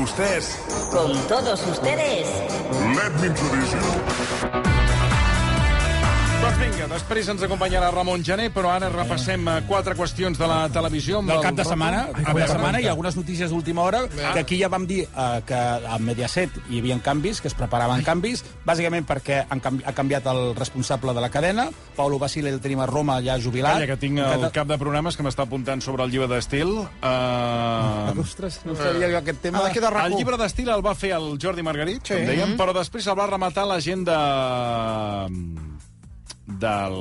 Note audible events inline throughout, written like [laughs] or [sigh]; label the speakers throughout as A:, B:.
A: ustedes.
B: Con todos ustedes.
A: Let me introduce you.
C: Doncs vinga, després ens acompanyarà Ramon Gené, però ara repassem eh, quatre qüestions de la televisió. Amb
D: del cap de
C: Rocco.
D: setmana, cap de setmana i algunes notícies d'última hora, que aquí ja vam dir eh, que a Mediaset hi havia canvis, que es preparaven canvis, bàsicament perquè han canvi, ha canviat el responsable de la cadena, Paulo Basile el tenim a Roma ja jubilat.
C: Calla, que tinc el cap de programes que m'està apuntant sobre el llibre d'estil. Uh,
D: Ah, Ostres, no sabia jo aquest tema.
E: Ara queda
C: el
E: rac
C: llibre d'estil el va fer el Jordi Margarit, sí. com dèiem, però després el va rematar la gent de... Del,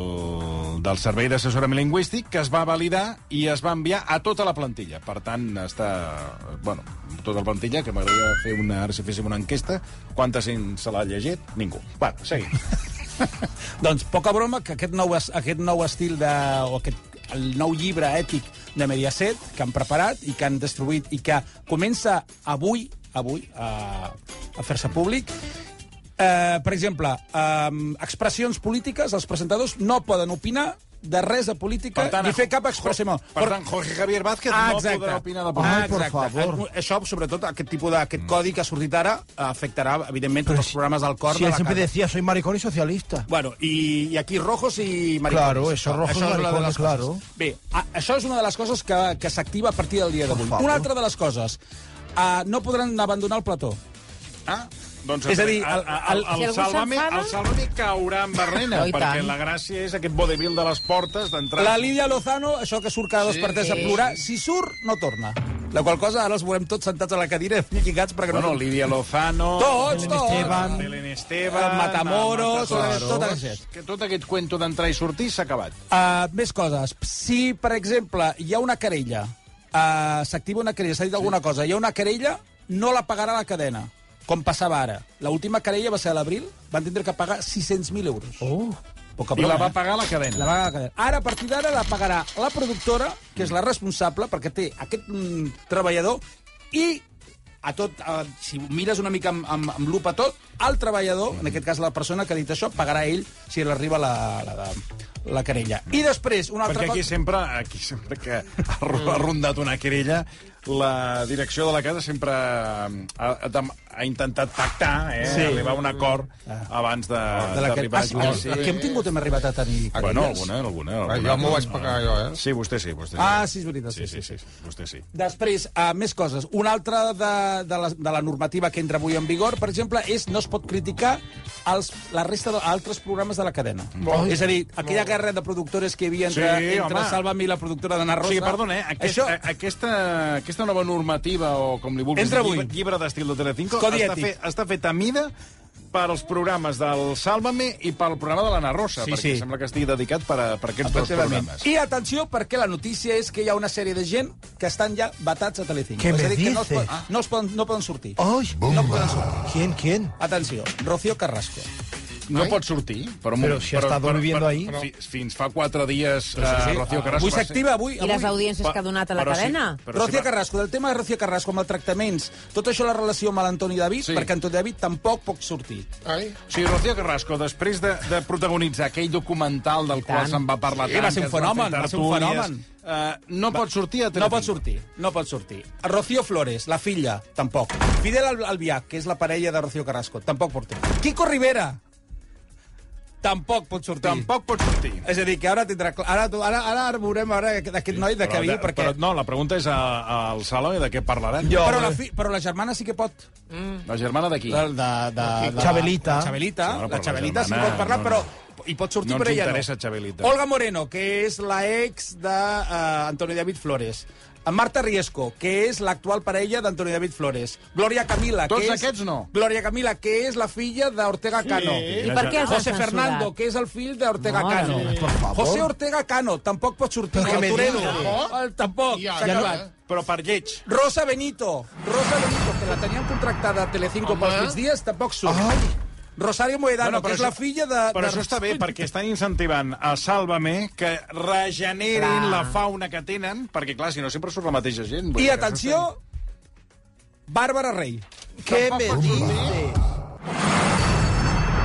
C: del Servei d'Assessorament Lingüístic, que es va validar i es va enviar a tota la plantilla. Per tant, està... Bueno, tota la plantilla, que m'agradaria fer una... Ara si féssim una enquesta, quanta gent se l'ha llegit? Ningú. Va, seguim. [laughs]
D: Doncs poca broma que aquest nou, es- aquest nou estil de, o aquest el nou llibre ètic de Mediaset que han preparat i que han distribuït i que comença avui avui a, a fer-se públic eh, per exemple eh, expressions polítiques, els presentadors no poden opinar de res de política ni fer cap expressió
C: Per tant, Jorge Javier Vázquez
D: Ah,
C: no
D: exacte.
C: podrà opinar de
D: Ah,
C: política.
D: exacte.
E: por favor.
D: Eh, Això, sobretot, aquest tipus de, aquest codi que ha sortit ara afectarà, evidentment, tots els programes del cor
E: Sí,
D: de
E: él
D: la
E: siempre
D: casa.
E: decía, soy maricón y socialista.
D: Bueno, i, i aquí rojos i maricones.
E: Claro, eso, rojos
D: és una de
E: maricones,
D: les
E: claro.
D: coses. Bé, a, això és una de les coses que, que s'activa a partir del dia d'avui.
E: favor.
D: Una altra de les coses, uh, no podran abandonar el plató.
C: Ah, doncs,
D: És a dir,
C: el, el, el,
F: Si
C: el,
F: algú
C: Sálvame,
F: s'enfada-
C: el Sálvame caurà en barrena,
F: No, i
C: perquè
F: tant.
C: la gràcia és aquest vodevil de les portes d'entrar...
D: La Lídia Lozano, això que surt cada dos sí, per tres a plorar, si surt, no torna. La qual cosa, ara els veurem tots sentats a la cadira i lligats perquè
C: Bueno,
D: no...
C: Lídia Lozano...
D: Tots,
E: Belén
D: tots.
E: Esteban.
C: Belén Esteban...
D: El Matamoros,
C: el Matamoros.
D: tot aquest.
C: Que tot aquest cuento d'entrar i sortir s'ha acabat.
D: Uh, més coses. Si, per exemple, hi ha una querella, uh, s'activa una querella, s'ha dit alguna cosa, hi ha una querella, no la pagarà la cadena, com passava ara. L'última querella va ser a l'abril, van tindre que pagar 600.000 euros.
E: Oh.
D: Poca
C: I
D: broma,
C: la va
D: eh?
C: pagar la cadena.
D: La va pagar la cadena. Ara, a partir d'ara, la pagarà la productora, que és la responsable, perquè té aquest mm, treballador, i a tot, a, si ho mires una mica amb, amb, amb lupa tot, el treballador, en aquest cas la persona que ha dit això, pagarà ell si l'arriba la, la, la, la querella. I després, una altra
C: Perquè aquí
D: cosa-
C: sempre, aquí sempre que ha ro- ha rondat una querella, la direcció de la casa sempre ha, ha, dem- ha intentat pactar, eh? sí. arribar a un acord abans de,
D: Ah. de la que...
C: d'arribar
D: Ah, sí, ah, sí. que hem tingut hem arribat a tenir...
C: Bueno, alguna, alguna.
G: Ah,
C: alguna
G: jo m'ho vaig pagar, jo, eh?
C: Sí, vostè sí, vostè sí.
D: Ah, sí, és veritat.
C: Sí, sí, sí, sí, vostè sí.
D: Després, uh, més coses. Una altra de, de, la, de la normativa que entra avui en vigor, per exemple, és no es pot criticar els, la resta d'altres programes de la cadena.
C: Mm.
D: Oh, és a dir, aquella guerra de productores que hi havia entre,
C: Sí,
D: entre
C: home.
D: Salva'm i la productora d'Anna
C: O
D: Rosa...
C: sigui, perdona, eh? Aquest,
D: Això,
C: Això... aquesta, aquesta nova normativa, o com li vulguis
D: Entra
C: dir,
D: avui.
C: llibre, llibre d'estil de Telecinco,
D: Codi
C: està,
D: ètic.
C: fe, està fet a mida per als programes del Sálvame i pel programa de l'Anna Rosa,
D: Sí,
C: perquè
D: sí.
C: sembla que estigui dedicat per a, per a aquests dos
D: Efectivament.
C: programes.
D: I atenció, perquè la notícia és que hi ha una sèrie de gent que estan ja vetats a Telecinco.
E: Què
D: és
E: me
D: a dir, que no, es
E: dices?
D: poden, ah, no, es poden, no poden sortir.
E: Ay,
D: No poden sortir.
E: ¿Quién, quién?
D: Atenció, Rocío Carrasco.
C: No pot sortir, però...
E: Però si ha estado viviendo ahí.
C: fi- Fins fa quatre dies, sí, sí. Rocío Carrasco...
D: Eh, Avui
C: va ser-
D: s'activa, avui...
F: I les
D: avui.
F: audiències que ha donat a la
C: Però sí,
F: cadena?
C: però
D: Rocío
C: va-
D: Carrasco, del tema de Rocío Carrasco amb els tractaments, tot això la relació amb l'Antoni David,
C: Sí.
D: sí. perquè Antoni David tampoc pot sortir.
G: Ai.
C: O sigui, Rocío Carrasco, després de, de protagonitzar aquell documental del qual se'n va parlar
D: Sí,
C: tant...
D: Eh, va ser un
C: que es van
D: fenomen,
C: fer
D: va ser un
C: tertúlies,
D: fenomen.
C: Eh, no pot sortir a
D: No
C: Telecinco.
D: pot sortir, no pot sortir. Rocío Flores, la filla, tampoc. Fidel Al- Albiach, que és la parella de Rocío Carrasco, tampoc pot sortir. Quico Rivera, tampoc pot sortir.
C: Tampoc pot sortir.
D: És a dir, que ara tindrà... clar- Ara, ara, ara veurem ara aquest aquest noi de
C: Però
D: Cavill,
C: de-
D: perquè...
C: Però, eh? no, la pregunta és a- al Saló i de què parlaran.
D: Jo, però, la fi, però la germana sí que pot.
C: La germana d'aquí.
D: La, de, de, de,
E: Chabelita.
D: La Chabelita,
C: Sí, bueno, però
D: la
C: la
D: Chabelita sí
C: germana,
D: pot parlar,
C: no,
D: però
C: no.
D: i pot sortir
C: No
D: per
C: ens
D: ella.
C: interessa, Chabelita.
D: Olga Moreno, que és la ex de uh, Antonio David Flores. En Marta Riesco, que és l'actual parella d'Antonio David Flores. Gloria Camila,
C: Tots
D: que és...
C: aquests no.
D: Gloria Camila, que és la filla d'Ortega Cano.
F: I per què els han
D: José
F: censurat?
D: Fernando, que és el fill d'Ortega
F: Mare
D: Cano.
F: meva.
D: José Ortega Cano, tampoc pot sortir.
E: Però què
D: El
E: me
D: torero.
E: dices?
D: El- Tampoc,
G: Ja,
D: s'ha
G: ja.
D: acabat.
C: Però per lleig.
D: Rosa Benito. Rosa Benito, que la tenien contractada a Telecinco
G: Home.
D: pels migdies, tampoc surt. Rosario
C: Bueno,
D: Moedano, que
C: però
D: és la
C: això-
D: filla de...
C: Però
D: de-
C: això està bé, perquè estan incentivant a Sálvame que regenerin
F: Clar.
C: la fauna que tenen, perquè, clar, si no sempre surt la mateixa gent. Vull
D: I
C: dir que
D: atenció, Bàrbara Rey.
E: ¿Qué me dices?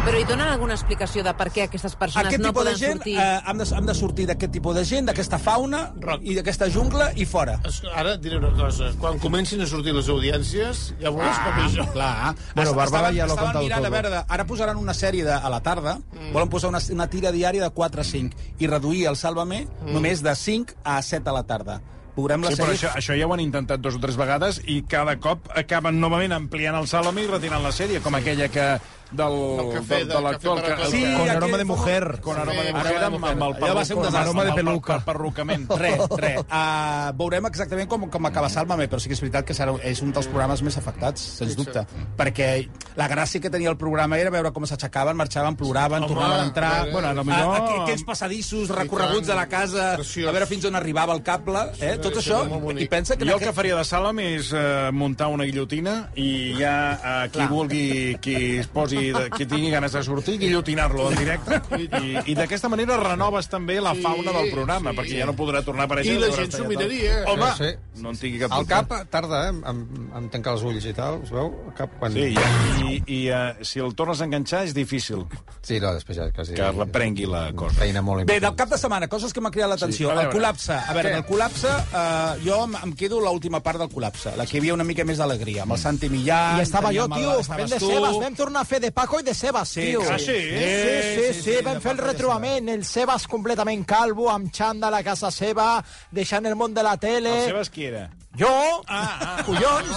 F: Però hi donen alguna explicació de per què aquestes persones
D: Aquest
F: no
D: tipus de
F: poden
D: gent
F: sortir?
D: eh, hem, de, hem de sortir d'aquest tipus de gent, d'aquesta fauna
G: Roc.
D: i d'aquesta jungla i fora.
G: Es- Ara et diré una cosa. Quan comencin a sortir les audiències, ja
C: Ah.
G: veuràs com és això.
D: Clar.
E: Bueno,
D: Es-
E: Barbala
D: Ah, estaven-
E: ja lo ha
D: estaven
E: contado
D: mirant,
E: todo.
D: A veure, ara posaran una sèrie de, a la tarda, mm. volen posar una, una tira diària de 4 a 5 i reduir el Sálvame mm. només de 5 a 7 a la tarda. Veurem la
C: Sí, però
D: sèrie...
C: això, això ja ho han intentat dos o tres vegades i cada cop acaben novament ampliant el salami i retirant la sèrie, com aquella que del,
G: El cafè
C: del,
G: del
C: l'actual...
G: cafè per
C: que-
G: a tots.
E: Con
D: aquell
E: aroma de
D: fou-
E: mujer.
C: Con aroma de
G: Sí,
C: mujer,
G: aroma de
C: amb,
G: mujer.
C: amb el
D: Allò va ser un
C: perruc-
D: desastre.
C: amb el per-
E: peluca.
C: perrucament.
D: [laughs] Res, res. Uh, veurem exactament com, com acaba Sálvame, però sí que és veritat que serà, és un dels programes més afectats, sens dubte. Perquè la gràcia que tenia el programa era veure com s'aixecaven, marxaven, ploraven,
G: Home,
D: tornaven a entrar...
G: eh, bueno, a lo
C: millor-
D: a- a- Aquells passadissos
G: tant.
D: recorreguts de la casa,
G: Preciós.
D: a veure fins on arribava el cable, eh? Tot
G: això
D: això,
G: era molt bonic.
D: i pensa que...
C: Jo el que faria de Sàlam és eh, muntar una guillotina i ja eh, qui vulgui, qui es posi, de, qui tingui ganes de sortir, guillotinar-lo en directe. I, i d'aquesta manera renoves també la
G: Sí,
C: fauna del programa,
G: sí.
C: perquè ja no podrà tornar a
G: I
C: aparèixer.
G: la
C: durant
G: gent s'ho
C: esta-
G: miraria, eh?
C: Home,
H: Sí,
C: no en tingui cap
H: El
C: dubte.
H: cap tarda, eh? Em, em tancar els ulls i tal, us veu? El cap quan...
C: Sí, ja, i, i uh, si el tornes a enganxar és difícil
H: sí no, després ja quasi...
C: que reprengui la cosa.
H: Feina molt
D: Bé,
H: important.
D: del cap de setmana, coses que m'han cridat l'atenció.
C: Sí, a
D: Sí,
C: veure.
D: el col·lapse. A veure, en el col·lapse, eh, jo em, em quedo l'última part del col·lapse, la que hi havia una mica més d'alegria,
C: Mm.
D: amb el Santi Millán...
E: I estava jo,
D: amb el-
E: tio,
D: estaves
E: fent de
D: tu.
E: Sebas. Vam tornar a fer de Paco i de Sebas,
D: Sí,
E: tio.
D: ah,
C: sí?
E: Sí, sí, sí, sí, vam
D: de
E: fer el
D: Paco i de
E: retrobament. El Sebas completament calvo, amb xandall a casa seva, deixant el món de la tele.
C: El Ah, Sebas qui era?
E: Jo, ah, collons,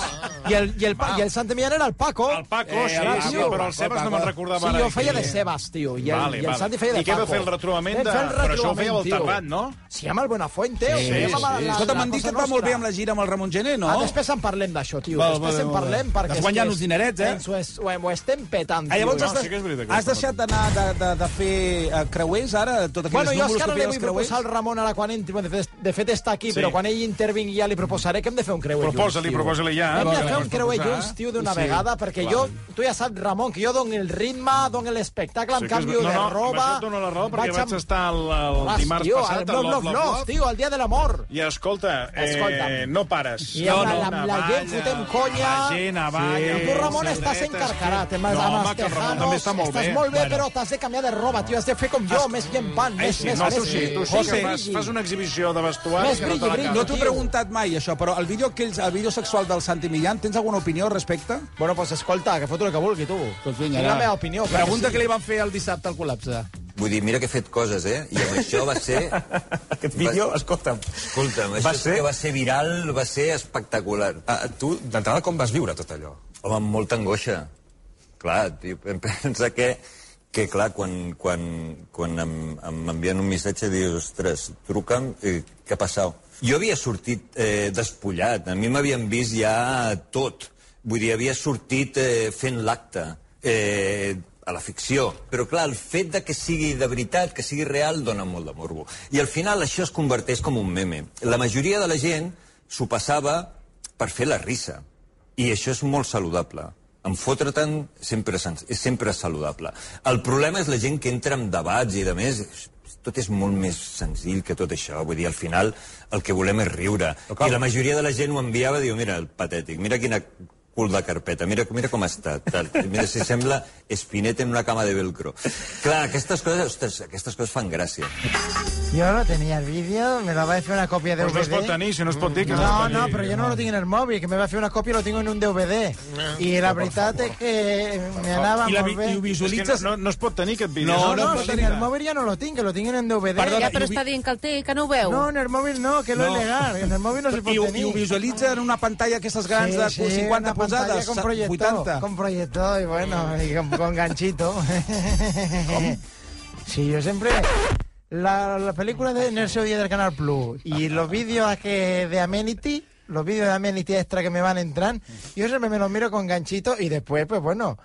E: i el, i el, pa- i el Santi Millán era el Paco.
C: El Paco,
D: Eh,
C: sí,
E: ara,
C: sí,
E: tio.
C: però el Sebas no me'n recordava
E: Sí,
C: ara.
E: jo feia
C: qui
E: de
C: era.
E: Sebas, tio, i el,
C: Vale,
E: i el
C: vale.
E: Santi feia de
C: I què va
E: Paco.
C: fer el retrobament
E: Vam
C: de-
E: fer el
C: però això ho feia
E: retrobament,
C: el Terrat,
E: tio.
C: no?
E: Sí, amb el Buenafuente.
C: Sí,
E: ho fèiem
C: sí,
E: amb la-
C: sí.
E: la-
D: Escolta,
E: la
D: m'han dit
E: cosa
D: que et va molt
E: nostra.
D: bé amb la gira amb el Ramon Gené, no?
E: Ah, després en parlem d'això, tio.
D: Val,
E: després
D: val,
E: en
D: val.
E: parlem, perquè...
D: Estàs
E: és
D: guanyant
E: que
D: uns dinerets, eh?
E: Ens ho, es, ho, ho estem petant,
D: Ah,
E: tio.
D: llavors
E: no?
D: has, de,
C: sí que és veritat que
D: has deixat d'anar de, de, de fer eh, creuers, ara? Tot aquells
E: Bueno, jo
D: números
E: encara
D: que
E: li
D: feien els
E: vull proposar al Ramon ara quan entri, de fet, de fet està
C: Sí.
E: aquí, sí. però quan ell intervingui ja li proposaré que hem de fer un creuer
C: Proposa-li,
E: junts, tio.
C: proposa-li ja. eh?
E: Hem
C: Vols
E: de fer un creuer
C: proposar?
E: junts, tio, d'una
D: Sí.
E: sí. vegada, perquè jo, tu ja saps, Ramon, que jo dono el ritme, dono l'espectacle,
C: Sí
E: em
C: que és-
E: canvio
C: no, no,
E: de roba...
C: amb això et dono la raó, perquè vaig
E: amb-
C: estar el, el
E: Vas,
C: dimarts
E: tio,
C: passat a
E: al Love,
C: Love,
E: Love,
C: Love,
E: Love,
C: Love.
E: tio, el dia de l'amor.
C: I escolta, eh,
E: Escolta'm.
C: no pares.
E: I amb
C: No,
E: la-
C: no,
E: amb la
C: navalla,
E: gent fotem conya.
C: La gent avalla.
E: I tu, Ramon, estàs
C: sabadetes.
E: encarcarat, eh, amb,
C: No,
E: amb
C: home,
E: els
C: que el Ramon
E: tejanos,
C: també està molt
E: estàs
C: bé.
E: molt bé,
C: Bueno.
E: però t'has de canviar de roba, tio, has de fer com jo, més llepant,
C: Eh,
E: més,
C: sí,
E: més,
C: no,
E: més,
C: tu sí, tu sí
E: José,
C: que fas, fas una exhibició de vestuari
E: Més
C: que no te
E: brilli, brilli.
D: No
C: l'acabes.
D: t'ho he preguntat mai, això, però el vídeo, aquell, el vídeo sexual del Santi Millán, tens alguna opinió al respecte?
E: Bueno, pues escolta, que fot el que vulgui, tu.
D: Doncs vinga,
E: Tinc
D: va.
E: la meva opinió. clar
D: Pregunta
E: que
D: que li van fer el dissabte al col·lapse.
I: Vull dir, mira que he fet coses, eh? I amb això va
H: [laughs]
I: ser...
D: Aquest
I: vídeo,
D: escolta'm...
I: Escolta'm, això
D: Va
I: va ser...
D: ser-
I: que va ser viral, va ser espectacular.
H: Ah, tu, d'entrada, com vas viure tot allò?
I: Home, amb molta angoixa. Clar, tio, [laughs] em pensa que, que clar, quan, quan, quan em, em m'envien un missatge dius, ostres, truca'm, eh, què ha passat? Jo havia sortit eh, despullat, a mi m'havien vist ja tot. Vull dir, havia sortit eh, fent l'acte eh, a la ficció. Però clar, el fet de que sigui de veritat, que sigui real, dona molt de morbo. I al final això es converteix com un meme. La majoria de la gent s'ho passava per fer la risa. I això és molt saludable. En fotre-te'n sempre, és sens- és sempre és saludable. El problema és la gent que entra en debats i de més. Tot és molt més senzill que tot això. Vull dir, al final el que volem és riure. I la majoria de la gent ho enviava i diu, mira, el patètic, mira quina cul de carpeta, mira, mira com està. Tal. Mira, si sembla Spinetta en una cama de velcro. Clar, aquestes coses, ostres, aquestes coses fan gràcia.
J: Yo no tenía el vídeo, me lo va a hacer una copia de
C: Doncs no es pot tenir, si no es pot dir que no,
J: No,
C: es pot
J: no,
C: tenir.
J: pero yo no lo tengo en el móvil, que me va a hacer una copia y lo tengo en un
C: Eh,
J: DVD. Y la verdad es que me anaba
D: I, la,
J: muy
D: vi- i ho
J: bien.
C: És que
D: visualitzes...
C: no, no, no es pot tenir aquest vídeo.
D: No,
J: No, no,
D: pues
J: si en
D: mira.
J: el móvil ya no lo tengo, lo tengo en DVD.
D: Perdona,
F: Ja, però
D: i ho
F: està
D: vi-
F: dient que el té, que no ho veu.
J: No, en el móvil no, que lo
D: No.
J: es legal. En el móvil no se
D: I,
J: puede
D: ho- I ho
J: tener.
D: visualitza en una pantalla aquestes grans
J: Sí,
D: de
J: sí,
D: 50
J: una pantalla
D: posades,
J: con proyector,
D: 80.
J: Con proyector y bueno, y con, con ganchito. sí, yo siempre... La, la película de Nercio Díaz del Canal Plus y los vídeos que de Amenity, los vídeos de Amenity extra que me van a entrar, yo siempre me los miro con ganchito y después, pues bueno,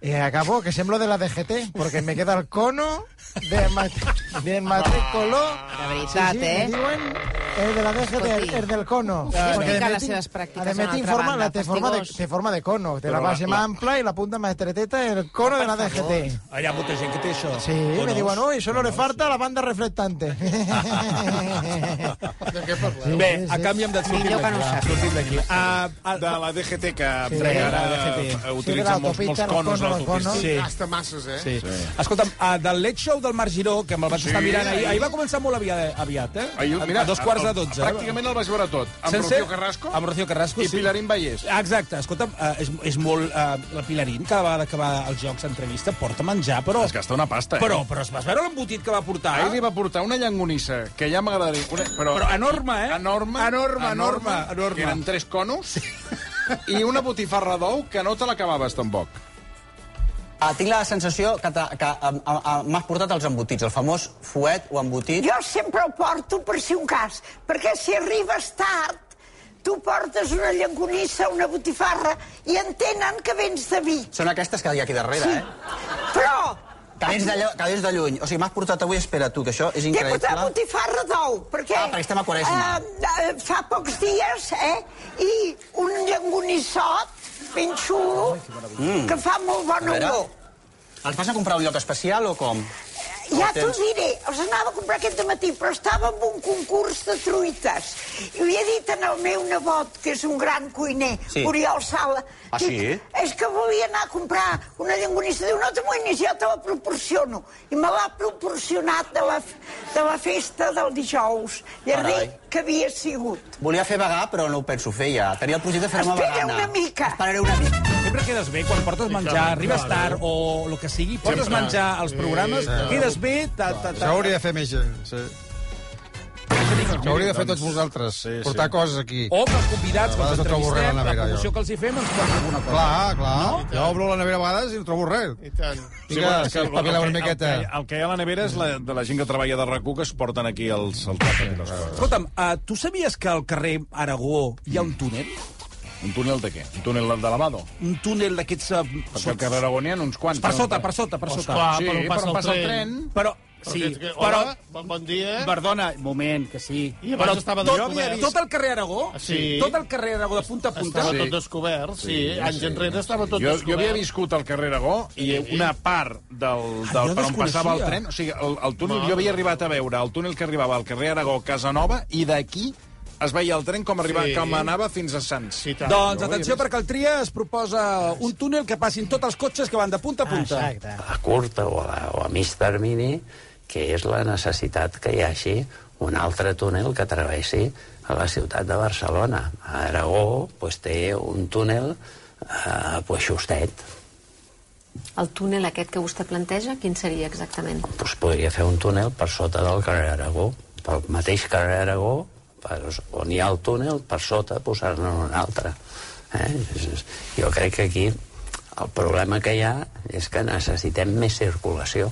J: eh, acabo que semblo de la DGT, porque me queda el cono de, mate- de matricolor.
F: La veritat,
J: Sí, sí,
F: eh?
J: me diuen- El de la DGT, el,
F: Escolti.
J: el del cono.
F: Uf, explica
J: Perquè
F: les seves pràctiques
J: A
F: en una
J: més,
F: altra
J: t'informa,
F: banda,
J: la- té forma, de,
F: fastigós.
J: té forma de cono. Té la base més ampla i la punta més estreteta, el cono de la DGT.
D: Hi ha molta gent que té això.
J: Sí, me diuen, uy, solo le falta la banda reflectante.
G: De què parleu?
D: Bé, a canvi hem de sortir
F: Millor que no
D: d'aquí.
F: ho sàpiga.
D: Sortim d'aquí. Ah,
C: De la DGT, que
J: Sí,
C: sí, ara
J: la DGT.
C: eh,
J: Sí, de
C: utilitzen molts,
J: l'autopista,
C: molts
J: els
C: conos
J: conos,
C: a
J: els
C: l'autopista.
J: conos.
D: Sí.
G: Gasta masses, eh?
D: Sí. Escolta'm, ah, del Late Show del Marc Giró, que me'l vaig estar mirant ahir, ahir va començar molt aviat, aviat eh?
C: Ahir,
D: A-
C: mira,
D: a dos quarts
C: el-
D: de dotze.
C: Pràcticament el vaig veure tot. Amb
D: Sense-
C: Rocío Carrasco
D: Amb Rocío Carrasco,
C: i Pilarín Vallès.
D: Exacte, escolta'm, eh, és, és molt... Eh, la Pilarín, cada vegada que va als jocs s'entrevista, porta menjar, però...
C: Es gasta una pasta, eh?
D: Però, però es vas veure l'embotit que va portar?
C: Ahir li va portar una llangonissa, que ja m'agradaria... Una... Però,
D: Però enorme, eh?
C: Enorme.
D: Enorme, enorme, enorme.
C: Que eren tres conos. I una botifarra d'ou que no te l'acabaves, tampoc.
K: Ah, tinc la sensació que, t'ha- que ah, ah, ah, m'has portat els embotits, el famós fuet o embotit.
B: Jo sempre ho porto per si un cas, perquè si arribes tard, tu portes una llangonissa, una botifarra, i entenen que vens de Vic.
K: Són aquestes que hi ha aquí darrere, eh?
B: Però
K: Que vens, de, llo- que vens de lluny. O sigui, m'has portat avui, espera tu, que això és
B: t'he
K: increïble.
B: portat botifarra d'ou, perquè...
K: Ah, perquè estem a Quaresma.
B: eh, eh, fa pocs dies, eh, i un llangonissot ben xulo, que fa molt
K: Mm. A
B: bona
K: veure.
B: olor.
K: Els vas a comprar a un lloc especial o com?
B: Ja
K: Ho
B: t'ho
K: tens?
B: diré, els anava a comprar aquest matí, però estava en un concurs de truites. I li he dit al meu nebot, que és un gran cuiner,
K: Sí.
B: sí. Oriol Sala...
K: Ah,
B: dic,
K: sí?
B: És que volia anar a comprar una llangonissa. Diu, no t'amoïnis, jo te la proporciono. I me l'ha proporcionat de la, de la festa del dijous. Llarder
K: Carai.
B: que havia sigut.
K: Volia fer vegà, però no ho penso fer ja. Tenia el projecte de fer-me
B: Espera
K: vegana.
B: una mica.
K: Esperaré una mica.
D: Sempre quedes bé quan portes menjar, arribes tard o el que sigui, portes
G: Sempre.
D: menjar als programes, quedes bé... Ta, ta, ta.
H: S'hauria de fer més gent, sí. S'hauria de fer tots vosaltres,
C: sí,
H: portar
C: sí.
H: coses aquí.
D: O que els convidats, que
H: A
D: els
H: vegades trobo res a
D: entrevistem,
H: la
D: la
H: nevera,
D: promoció
H: jo.
D: que els hi fem, ens porta alguna cosa.
H: Clar, clar. Jo obro la nevera a vegades i no trobo res.
G: I tant.
H: Vinga,
C: bueno,
H: sí, espavila una miqueta.
C: El que, el que hi ha a la nevera és la, de la gent que treballa de rac que es porten aquí els, els tàpats i les coses.
D: Escolta'm, uh, tu sabies que al carrer Aragó hi ha un túnel?
C: Un túnel de què? Un túnel de lavado?
D: Un túnel d'aquests... eh,
C: Perquè
D: sota-
C: al carrer Aragona hi ha uns quants.
D: Per sota, per sota, per sota.
G: Esclar,
C: Sí,
G: però
C: però
G: passa, el tren.
D: Però,
G: Sí,
D: sí,
G: que,
D: però...
G: hola, Ah, bon, bon dia.
D: Perdona, moment, que sí.
G: I abans estava de
D: tot,
G: comerç.
D: eh? tot el carrer Aragó,
G: Sí.
D: tot el carrer Aragó de punta a punta,
G: Estava
C: Sí.
G: tot descobert, sí. Anys enrere estava tot
C: Jo,
G: descobert.
C: jo havia viscut al carrer Aragó i una part del,
D: Ah,
C: del
D: jo
C: per on passava el
D: desconeixia.
C: tren, o sigui, el, el túnel, jo havia arribat a veure el túnel que arribava al carrer Aragó, Casanova, i d'aquí es veia el tren com, arriba,
G: Sí.
C: com anava fins a Sants.
G: Sí, tant.
D: Doncs atenció, perquè el Tria es proposa un túnel que passin tots els cotxes que van de punta a punta.
E: Exacte.
L: a curt o a, la, o a mig termini, que és la necessitat que hi hagi un altre túnel que travessi a la ciutat de Barcelona. A Aragó pues, té un túnel eh, pues, justet.
F: El túnel aquest que vostè planteja, quin seria exactament?
L: Pues, podria fer un túnel per sota del carrer Aragó. Pel mateix carrer Aragó, per, on hi ha el túnel, per sota posar-ne un altre. Eh? És- és- Jo crec que aquí el problema que hi ha és que necessitem més circulació.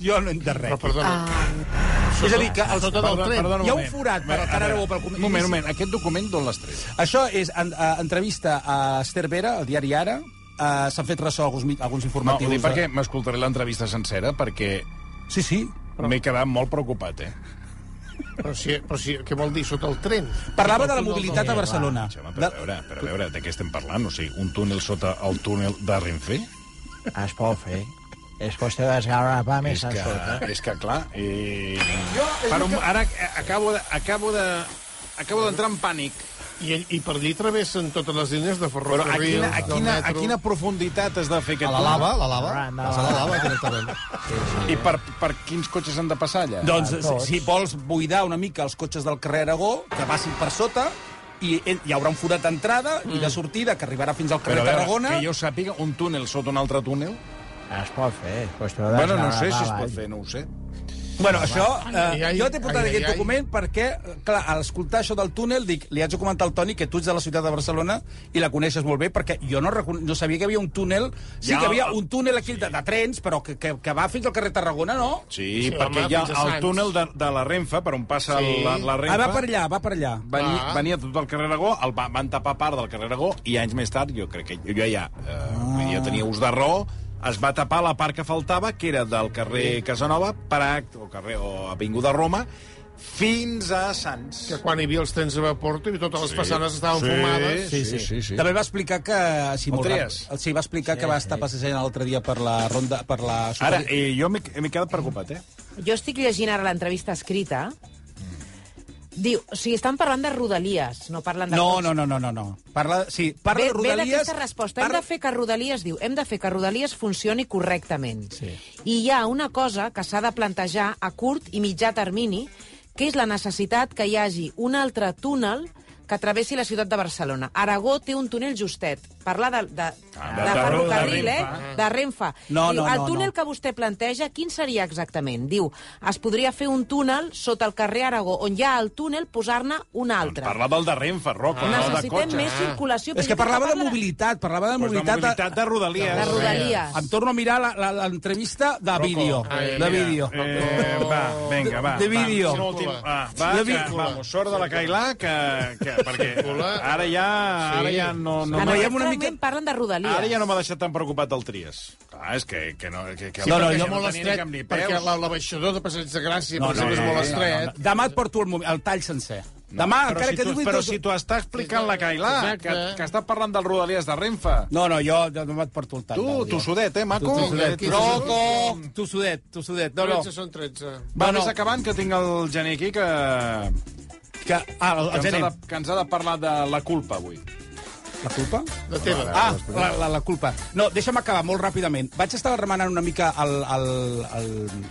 D: Jo no entenc res.
G: Però perdona,
F: Ah,
D: És a dir, que els,
G: Sota del
D: perdona,
G: tren.
D: perdona, hi ha un forat per al carrer Aragó. Pel
C: Un
D: comer-
C: moment, un moment. Aquest document d'on l'has tret?
D: Això és en, a, entrevista a Esther Vera, al diari Ara. Uh, S'han fet ressò alguns, mi- alguns
C: No, ho
D: informatius.
C: dic
D: de-
C: perquè m'escoltaré l'entrevista sencera, perquè
D: Sí, sí.
C: m'he quedat molt preocupat, eh?
G: però, si, però si, què vol dir? Sota el tren?
D: Parlava de
G: Sota
D: la
G: el túnel
D: mobilitat
G: del-
D: a Barcelona.
C: Sí, home, però a veure, però a veure, de què estem parlant? O sigui, un túnel sota el túnel de Renfe?
H: Ah,
E: Es pot fer. És qüestió de desgarrar una pam i
C: És
E: se'n
C: que,
E: surt.
C: és que clar... Eh... Però ara eh, acabo de... Acabo de... Acabo d'entrar en pànic.
G: I, I per allí travessen totes les línies de
C: Però a
G: ferrocarril,
C: quina, a, quina, a quina profunditat has de fer
H: A
C: aquest
H: la lava, a la lava.
E: Ah, no.
H: Vas a la lava directament.
C: túnel? [laughs] I per, per quins cotxes han de passar allà?
D: Doncs, si- si vols buidar una mica els cotxes del carrer Aragó, que passin per sota, i eh, hi haurà un forat d'entrada i de sortida que arribarà fins al
C: Però
D: carrer
C: a veure,
D: Tarragona.
C: que jo sàpiga, un túnel sota un altre túnel?
H: Ah,
E: Es pot fer. És qüestió de
C: Bueno,
E: desgarrar
C: no sé
E: una
C: si es
E: pava,
C: pot
E: eh?
C: fer, no ho sé.
D: Bueno, això,
G: Ai,
D: eh,
G: ai,
D: jo t'he portat
G: ai,
D: aquest
G: ai, ai.
D: document perquè, eh, clar, al escoltar això del túnel, dic, li haig de comentar al Toni que tu ets de la ciutat de Barcelona i la coneixes molt bé, perquè jo no, recon- no sabia que hi havia un túnel... Sí,
C: Ja,
D: que hi havia
C: el-
D: un túnel aquí de, de trens, però que, que, que va fins al carrer Tarragona, no?
C: Sí,
G: Sí,
C: perquè
G: home,
C: hi ha
G: fins a
C: el
G: Sants.
C: túnel de, de la Renfe, per on passa
G: Sí.
C: la, la
D: Ah,
C: Renfe.
D: va per allà, va per allà.
C: Venia,
G: Clar.
C: venia tot el carrer Aragó, el va, van tapar part del carrer Aragó i anys més tard, jo crec que jo ja, eh,
G: Ah.
C: ja tenia ús de raó, es va tapar la part que faltava, que era del carrer Casanova per a, o, carrer, o Avinguda Roma, fins a Sants.
G: Que quan hi havia els trens de vapor, i totes les
C: Sí.
G: façanes estaven
C: Sí,
G: fumades.
C: sí, sí, sí, sí.
D: També va explicar que... Si molt
C: Trias.
D: ràpid- Sí, va explicar
C: Sí,
D: que va estar passejant l'altre dia per la ronda... Per la
C: Ara, eh, jo m'he m'he quedat preocupat, eh?
M: Jo estic llegint ara l'entrevista escrita. Diu, o sigui, estan parlant de Rodalies, no parlen de...
D: No,
M: cotxe.
D: no, no, no, no, no. Parla, sí, parla
M: ve,
D: de
M: Ve
D: Rodalies...
M: d'aquesta resposta. Hem de fer que Rodalies, diu, hem de fer que Rodalies funcioni correctament.
D: Sí.
M: I hi ha una cosa que s'ha de plantejar a curt i mitjà termini, que és la necessitat que hi hagi un altre túnel que travessi la ciutat de Barcelona. Aragó té un túnel justet. Parla de, de, de,
D: Ah, de-
M: ferrocarril,
D: de
M: eh?
D: Renfe.
M: De Renfe.
D: No,
M: Diu,
D: no,
M: el
D: no,
M: túnel
D: no.
M: que vostè planteja, quin seria exactament? Diu, es podria fer un túnel sota el carrer Aragó, on hi ha el túnel, posar-ne un altre.
C: Parla del de Renfe,
G: Ah.
C: Rocco, no de eh?
M: Necessitem
C: cotxe.
M: més circulació. però
D: És que
M: jo crec
D: parlava de
M: parla
D: mobilitat, parlava de
C: Pues de
D: mobilitat...
C: mobilitat de Rodalies.
M: De Rodalies.
D: Em torno a mirar la- la- l'entrevista de
C: Rocco,
D: vídeo.
C: ai,
D: De
C: mira.
D: vídeo.
C: Eh, va, vinga, va.
D: De
C: va,
D: vídeo.
C: un últim- Va, va,
D: De
C: que,
D: vídeo.
C: vamos, sort de la Cailà, que, que, perquè ara ja, ara ja no... no
M: En
C: m'ha-
M: aquest fragment parlen de Rodalies.
C: Ara ja no m'ha deixat tan preocupat el Trias. Clar, és que, que no... Que, que
G: Sí, no, no,
C: perquè
G: és molt
C: tenia ni
G: estret,
C: cap ni peus.
G: perquè la- l'abaixador de Passeig de Gràcia, per exemple, és molt estret.
D: no. Demà et porto el, mo- el tall sencer. Demà,
C: però
D: encara
C: si
D: que
C: tu-
D: digui...
C: però
D: tot-
C: si t'ho està explicant la Cailà,
D: Exacte.
C: que, que està parlant del Rodalies de Renfe.
D: No, no, jo demà et porto el tall.
C: Tu, tossudet, eh, maco?
D: Troco! Tossudet, tossudet. No, no.
G: 13 són 13.
C: Va, no, no. acabant, que tinc el Geni aquí, que...
D: Que, ah, el,
C: que, ens
D: Geni.
C: ha de, que ens ha de parlar de la culpa, avui.
D: La culpa?
G: La teva.
D: Ah, la, la, la culpa. No, deixa'm acabar molt ràpidament. Vaig estar remenant una mica el, el, el,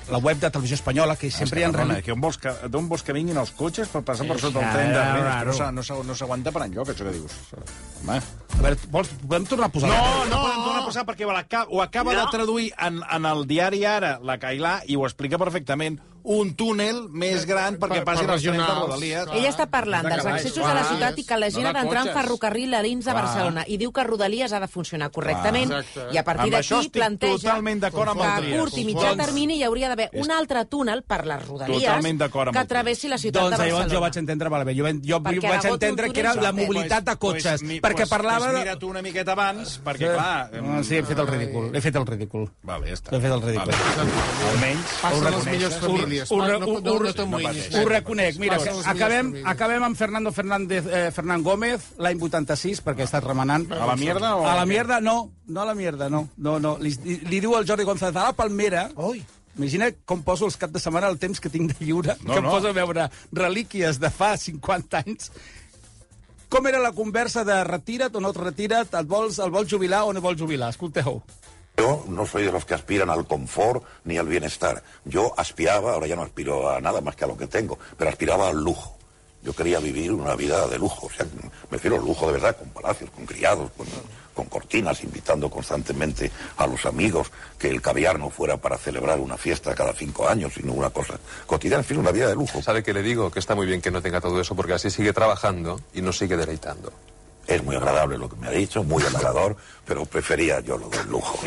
D: la web de Televisió Espanyola, que sempre hi ha...
C: Perdona,
D: remi-
C: que on vols que, d'on vols que vinguin els cotxes per passar per
D: Sí,
C: sota el
D: ja,
C: tren de
D: ja,
C: Renfe? És que
D: raro.
C: no s'ha- No, s'ha- no s'aguanta per enlloc, això que dius. Home.
D: A veure, vols, podem tornar a posar...
C: No, no podem tornar a posar perquè la, ca- ho acaba no. de traduir en, en el diari ara la Cailà i ho explica perfectament. Un túnel més gran perquè
G: per
C: passin els trens de
G: regionals,
C: Rodalies.
M: Ell està parlant dels accessos a la ciutat i que la gent
C: No
M: ha
C: de
M: d'entrar en
C: cotxes.
M: ferrocarril a dins de
C: Clar.
M: Barcelona i diu que Rodalies ha de funcionar correctament
C: Exacte.
M: i a partir
C: Amb això
M: d'aquí
C: estic
M: planteja
C: totalment d'acord amb
M: que
C: el
M: a
C: Trias.
M: curt i mitjà
C: Doncs-
M: termini hi hauria d'haver un altre túnel per les
C: Totalment
M: Rodalies
C: d'acord amb
M: que
C: el Trias.
M: travessi la ciutat
D: Doncs
M: de
D: llavors jo
M: Barcelona.
D: vaig entendre malament. Jo, ven- jo
M: Perquè
D: vaig
M: la
D: entendre
M: Gòtol
D: que era
M: Turisme
D: la
M: Pues-
D: mobilitat de cotxes,
C: mi-
D: perquè
C: Eh, pues,
D: parlava...
C: Pues
D: de-
C: mira't una miqueta abans, perquè,
D: Sí.
C: clar...
D: Ah, sí, he fet el ridícul. He fet el ridícul.
C: Vale, ja està.
D: He fet el ridícul.
C: Almenys...
G: Passen
D: Ho
G: les
D: reconeixes.
G: millors famílies.
D: Ho,
G: Pa-
D: re-
G: no-
D: ho,
G: no- no
D: ho,
G: t'amoïnis,
D: ho
G: nen.
D: reconec. Mira,
G: Passen les millors
D: acabem,
G: famílies.
D: acabem amb Fernando Fernández, eh, Fernán Gómez l'any 86, perquè ha estat remenant.
C: A la mierda o-
D: A la mierda, no. No a la mierda, no. no, no. Li, li, li diu al Jordi González, a la Palmera... Oi. Imagina com poso els cap de setmana el temps que tinc de lliure,
C: No,
D: no, que em
C: no.
D: poso a veure relíquies de fa 50 anys. Com era la conversa de retira't o no et retira't, et vols, el vols jubilar o no vols jubilar? Escolteu.
N: Yo no soy de los que aspiran al confort ni al bienestar. Yo aspiraba, ahora ya no aspiro a nada más que a lo que tengo, pero aspiraba al lujo. Yo quería vivir una vida de lujo, o sea, me refiero al lujo de verdad, con palacios, con criados, con, con cortinas, invitando constantemente a los amigos, que el caviar no fuera para celebrar una fiesta cada cinco años, sino una cosa cotidiana, en fin, una vida de lujo.
O: ¿Sabe qué le digo? Que está muy bien que no tenga todo eso porque así sigue trabajando y nos sigue deleitando.
N: Es muy agradable lo que me ha dicho, muy halagador, pero prefería yo lo del lujo.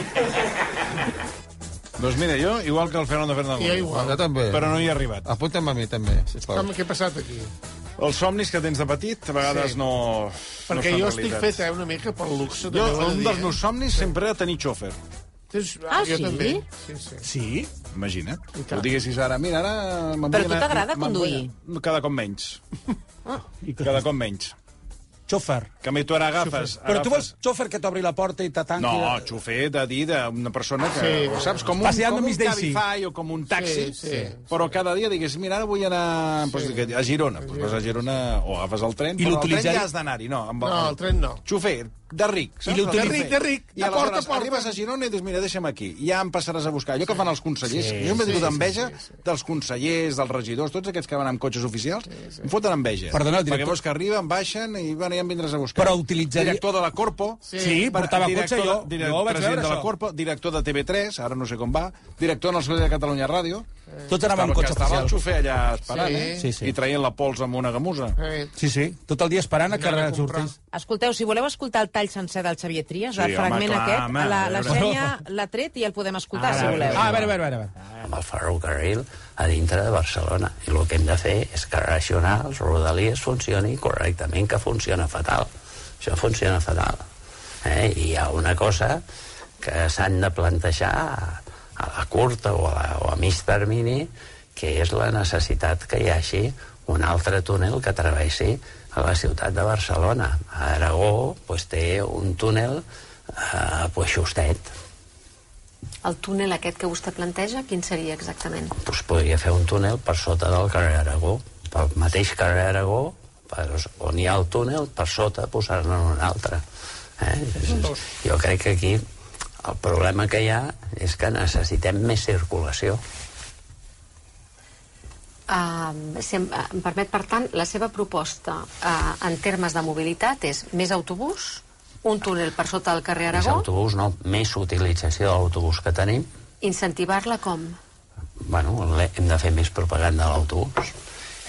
C: Doncs mira, jo, igual que el Fernando Fernández.
G: Jo igual. Jo
H: també.
C: Però no hi he arribat.
H: Apunta'm a mi, també, sisplau.
G: Home, què ha passat aquí?
C: Els somnis que tens de petit, a vegades
G: Sí.
C: sí. no, no
G: Perquè
C: són
G: jo estic
C: realitat.
G: fet eh, una mica per
C: Jo,
G: luxe. també ho he de
C: un
G: dir,
C: dels
G: eh?
C: meus somnis sempre era tenir xòfer.
G: Tens-
M: Ah,
G: jo
M: sí?
G: també. Sí, sí.
C: Sí? Imagina't. Ho diguessis ara, mira, ara... m'envien
M: Però a tu
C: a-
M: t'agrada
C: m'envien-
M: conduir?
C: Cada cop menys.
M: Ah.
C: I Cada cop menys.
D: Xòfer.
C: Que mi tu ara agafes...
D: Però tu
C: agafes...
D: vols xòfer que t'obri la porta i te tanqui?
C: No,
D: la-
C: xofer de dir d'una persona que...
D: Sí.
C: ho Saps? Com un,
D: Paseando
C: com un
D: Miss Daisy.
C: Cabify o com un taxi.
D: Sí, sí,
C: però cada dia digués, mira, ara vull anar doncs, dic, a Girona. Doncs vas a Girona o agafes el tren, però el
D: I
C: tren
D: l'utilitzari-
C: ja has d'anar-hi. No, amb
G: No, el tren no.
C: Xofer, de ric. saps?
G: l'utilitzari-
C: El
G: De ric, de ric,
C: I
G: de porta a
C: aleshores
G: porta.
C: arribes a Girona i dius, mira, deixa'm aquí. Ja em passaràs a buscar. Allò que fan els consellers,
G: Sí,
C: que jo m'he
G: sí,
C: tingut
G: sí,
C: enveja dels consellers, dels regidors, tots aquests que van amb cotxes oficials, em foten enveja.
D: Perdona, el director-
C: Perquè veus que arriben, baixen i bueno, ja em vindràs a buscar.
D: Però utilitzaria-
C: Director de la Corpo.
D: Sí, portava
C: director
D: cotxe,
C: de-
D: jo-
C: direct-
D: jo vaig
C: president
D: veure
C: de la
D: això.
C: Corpo, director de TV3, ara no sé com va, director nacional de Catalunya Ràdio.
D: Tots anaven amb
C: Estava-
D: cotxe
C: que Estava el
D: oficial.
C: xofer allà esperant,
D: Sí.
C: eh?
D: Sí, sí.
C: I traient la pols amb una gamusa.
D: Sí, sí, tot el dia esperant a que surtis.
M: Escolteu, si voleu escoltar el tall sencer del Xavier Trias,
L: Sí,
M: el
L: home,
M: fragment
L: clar,
M: aquest,
L: home,
M: la,
L: a
M: la
L: veure.
M: Xènia l'ha tret i el podem escoltar,
L: Ara,
M: si
L: a
M: voleu.
L: veure. Ah, a veure, a
D: veure, a veure.
L: amb el ferrocarril a dintre de Barcelona. I el que hem de fer és que Racionals, Rodalies, funcioni correctament, que funciona fatal. Això funciona fatal. Eh? I hi ha una cosa que s'han de plantejar a la curta o a, la, o a mig termini que és la necessitat que hi hagi un altre túnel que travessi a la ciutat de Barcelona. A Aragó pues, té un túnel eh, pues, justet.
F: El túnel aquest que vostè planteja, quin seria exactament?
L: Pues, podria fer un túnel per sota del carrer Aragó. Pel mateix carrer Aragó, per, on hi ha el túnel, per sota posar-ne un altre. Eh? És- Jo crec que aquí el problema que hi ha és que necessitem més circulació.
F: Uh, si em, eh, em permet, per tant, la seva proposta uh, en termes de mobilitat és més autobús, un túnel per sota del carrer
L: Més
F: Aragó,
L: autobús, no, més utilització de l'autobús que tenim.
F: incentivar-la com?
L: Bueno, l'he- hem de fer més propaganda de l'autobús.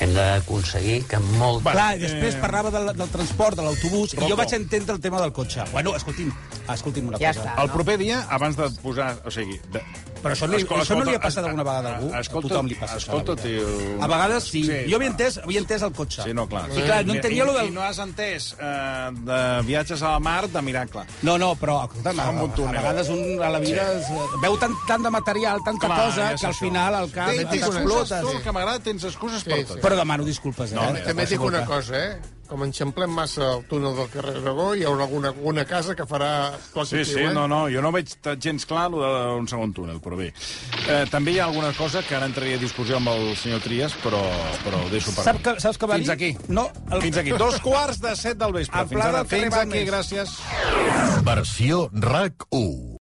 L: Hem d'aconseguir que molt...
D: Clar, i després parlava del, del transport, de l'autobús, i jo vaig entendre el tema del cotxe. Bueno, escolti'm, escolti'm una cosa.
C: el proper dia, abans de posar... O sigui, de...
D: Però això, li,
C: Esco-
D: això no
C: escolta,
D: li ha passat
C: es-
D: alguna vegada a algú?
C: Escolta,
D: a tothom li passa això.
C: escolta,
D: la veritat.
C: tio.
D: A vegades sí.
C: Sí,
D: jo havia entès, havia entès el cotxe. Sí,
C: no, clar.
D: I clar, no
C: Mira,
D: entenia
C: i-
D: lo
C: i
D: del...
C: no has entès eh, de viatges a la mar de miracle.
D: No, no, però, escolta'm, a,
C: Amb un
D: a
C: túnel.
D: vegades un a la vida
C: Sí.
D: es, veu tant, tant de material, tanta
C: Clar,
D: cosa,
C: és
D: que al
C: això.
D: final al cap
C: Tens excuses,
D: t'explotes.
C: tu, el que m'agrada, tens excuses per
G: Sí,
C: tot.
G: sí.
D: Però demano disculpes, eh?
G: No, també
D: per
G: dic una
D: favor.
G: cosa, eh? Com enxamplem massa el túnel del carrer Aragó, hi haurà alguna, alguna casa que farà
C: Sí,
G: positiu,
C: sí,
G: eh?
C: no, no, jo no veig t- gens clar lo d'un segon túnel, però bé. Eh, també hi ha alguna cosa que ara entraria a discussió amb el senyor Trias, però, però ho deixo per
D: Sap que, saps que va
C: Fins
D: dir?
C: aquí.
D: No, el...
C: Fins aquí.
D: [laughs]
C: Dos quarts de set del vespre.
D: Al
C: Fins
D: pla
C: ara.
D: del carrer
C: Fins aquí,
D: Balmes.
C: gràcies.
P: Versió RAC 1.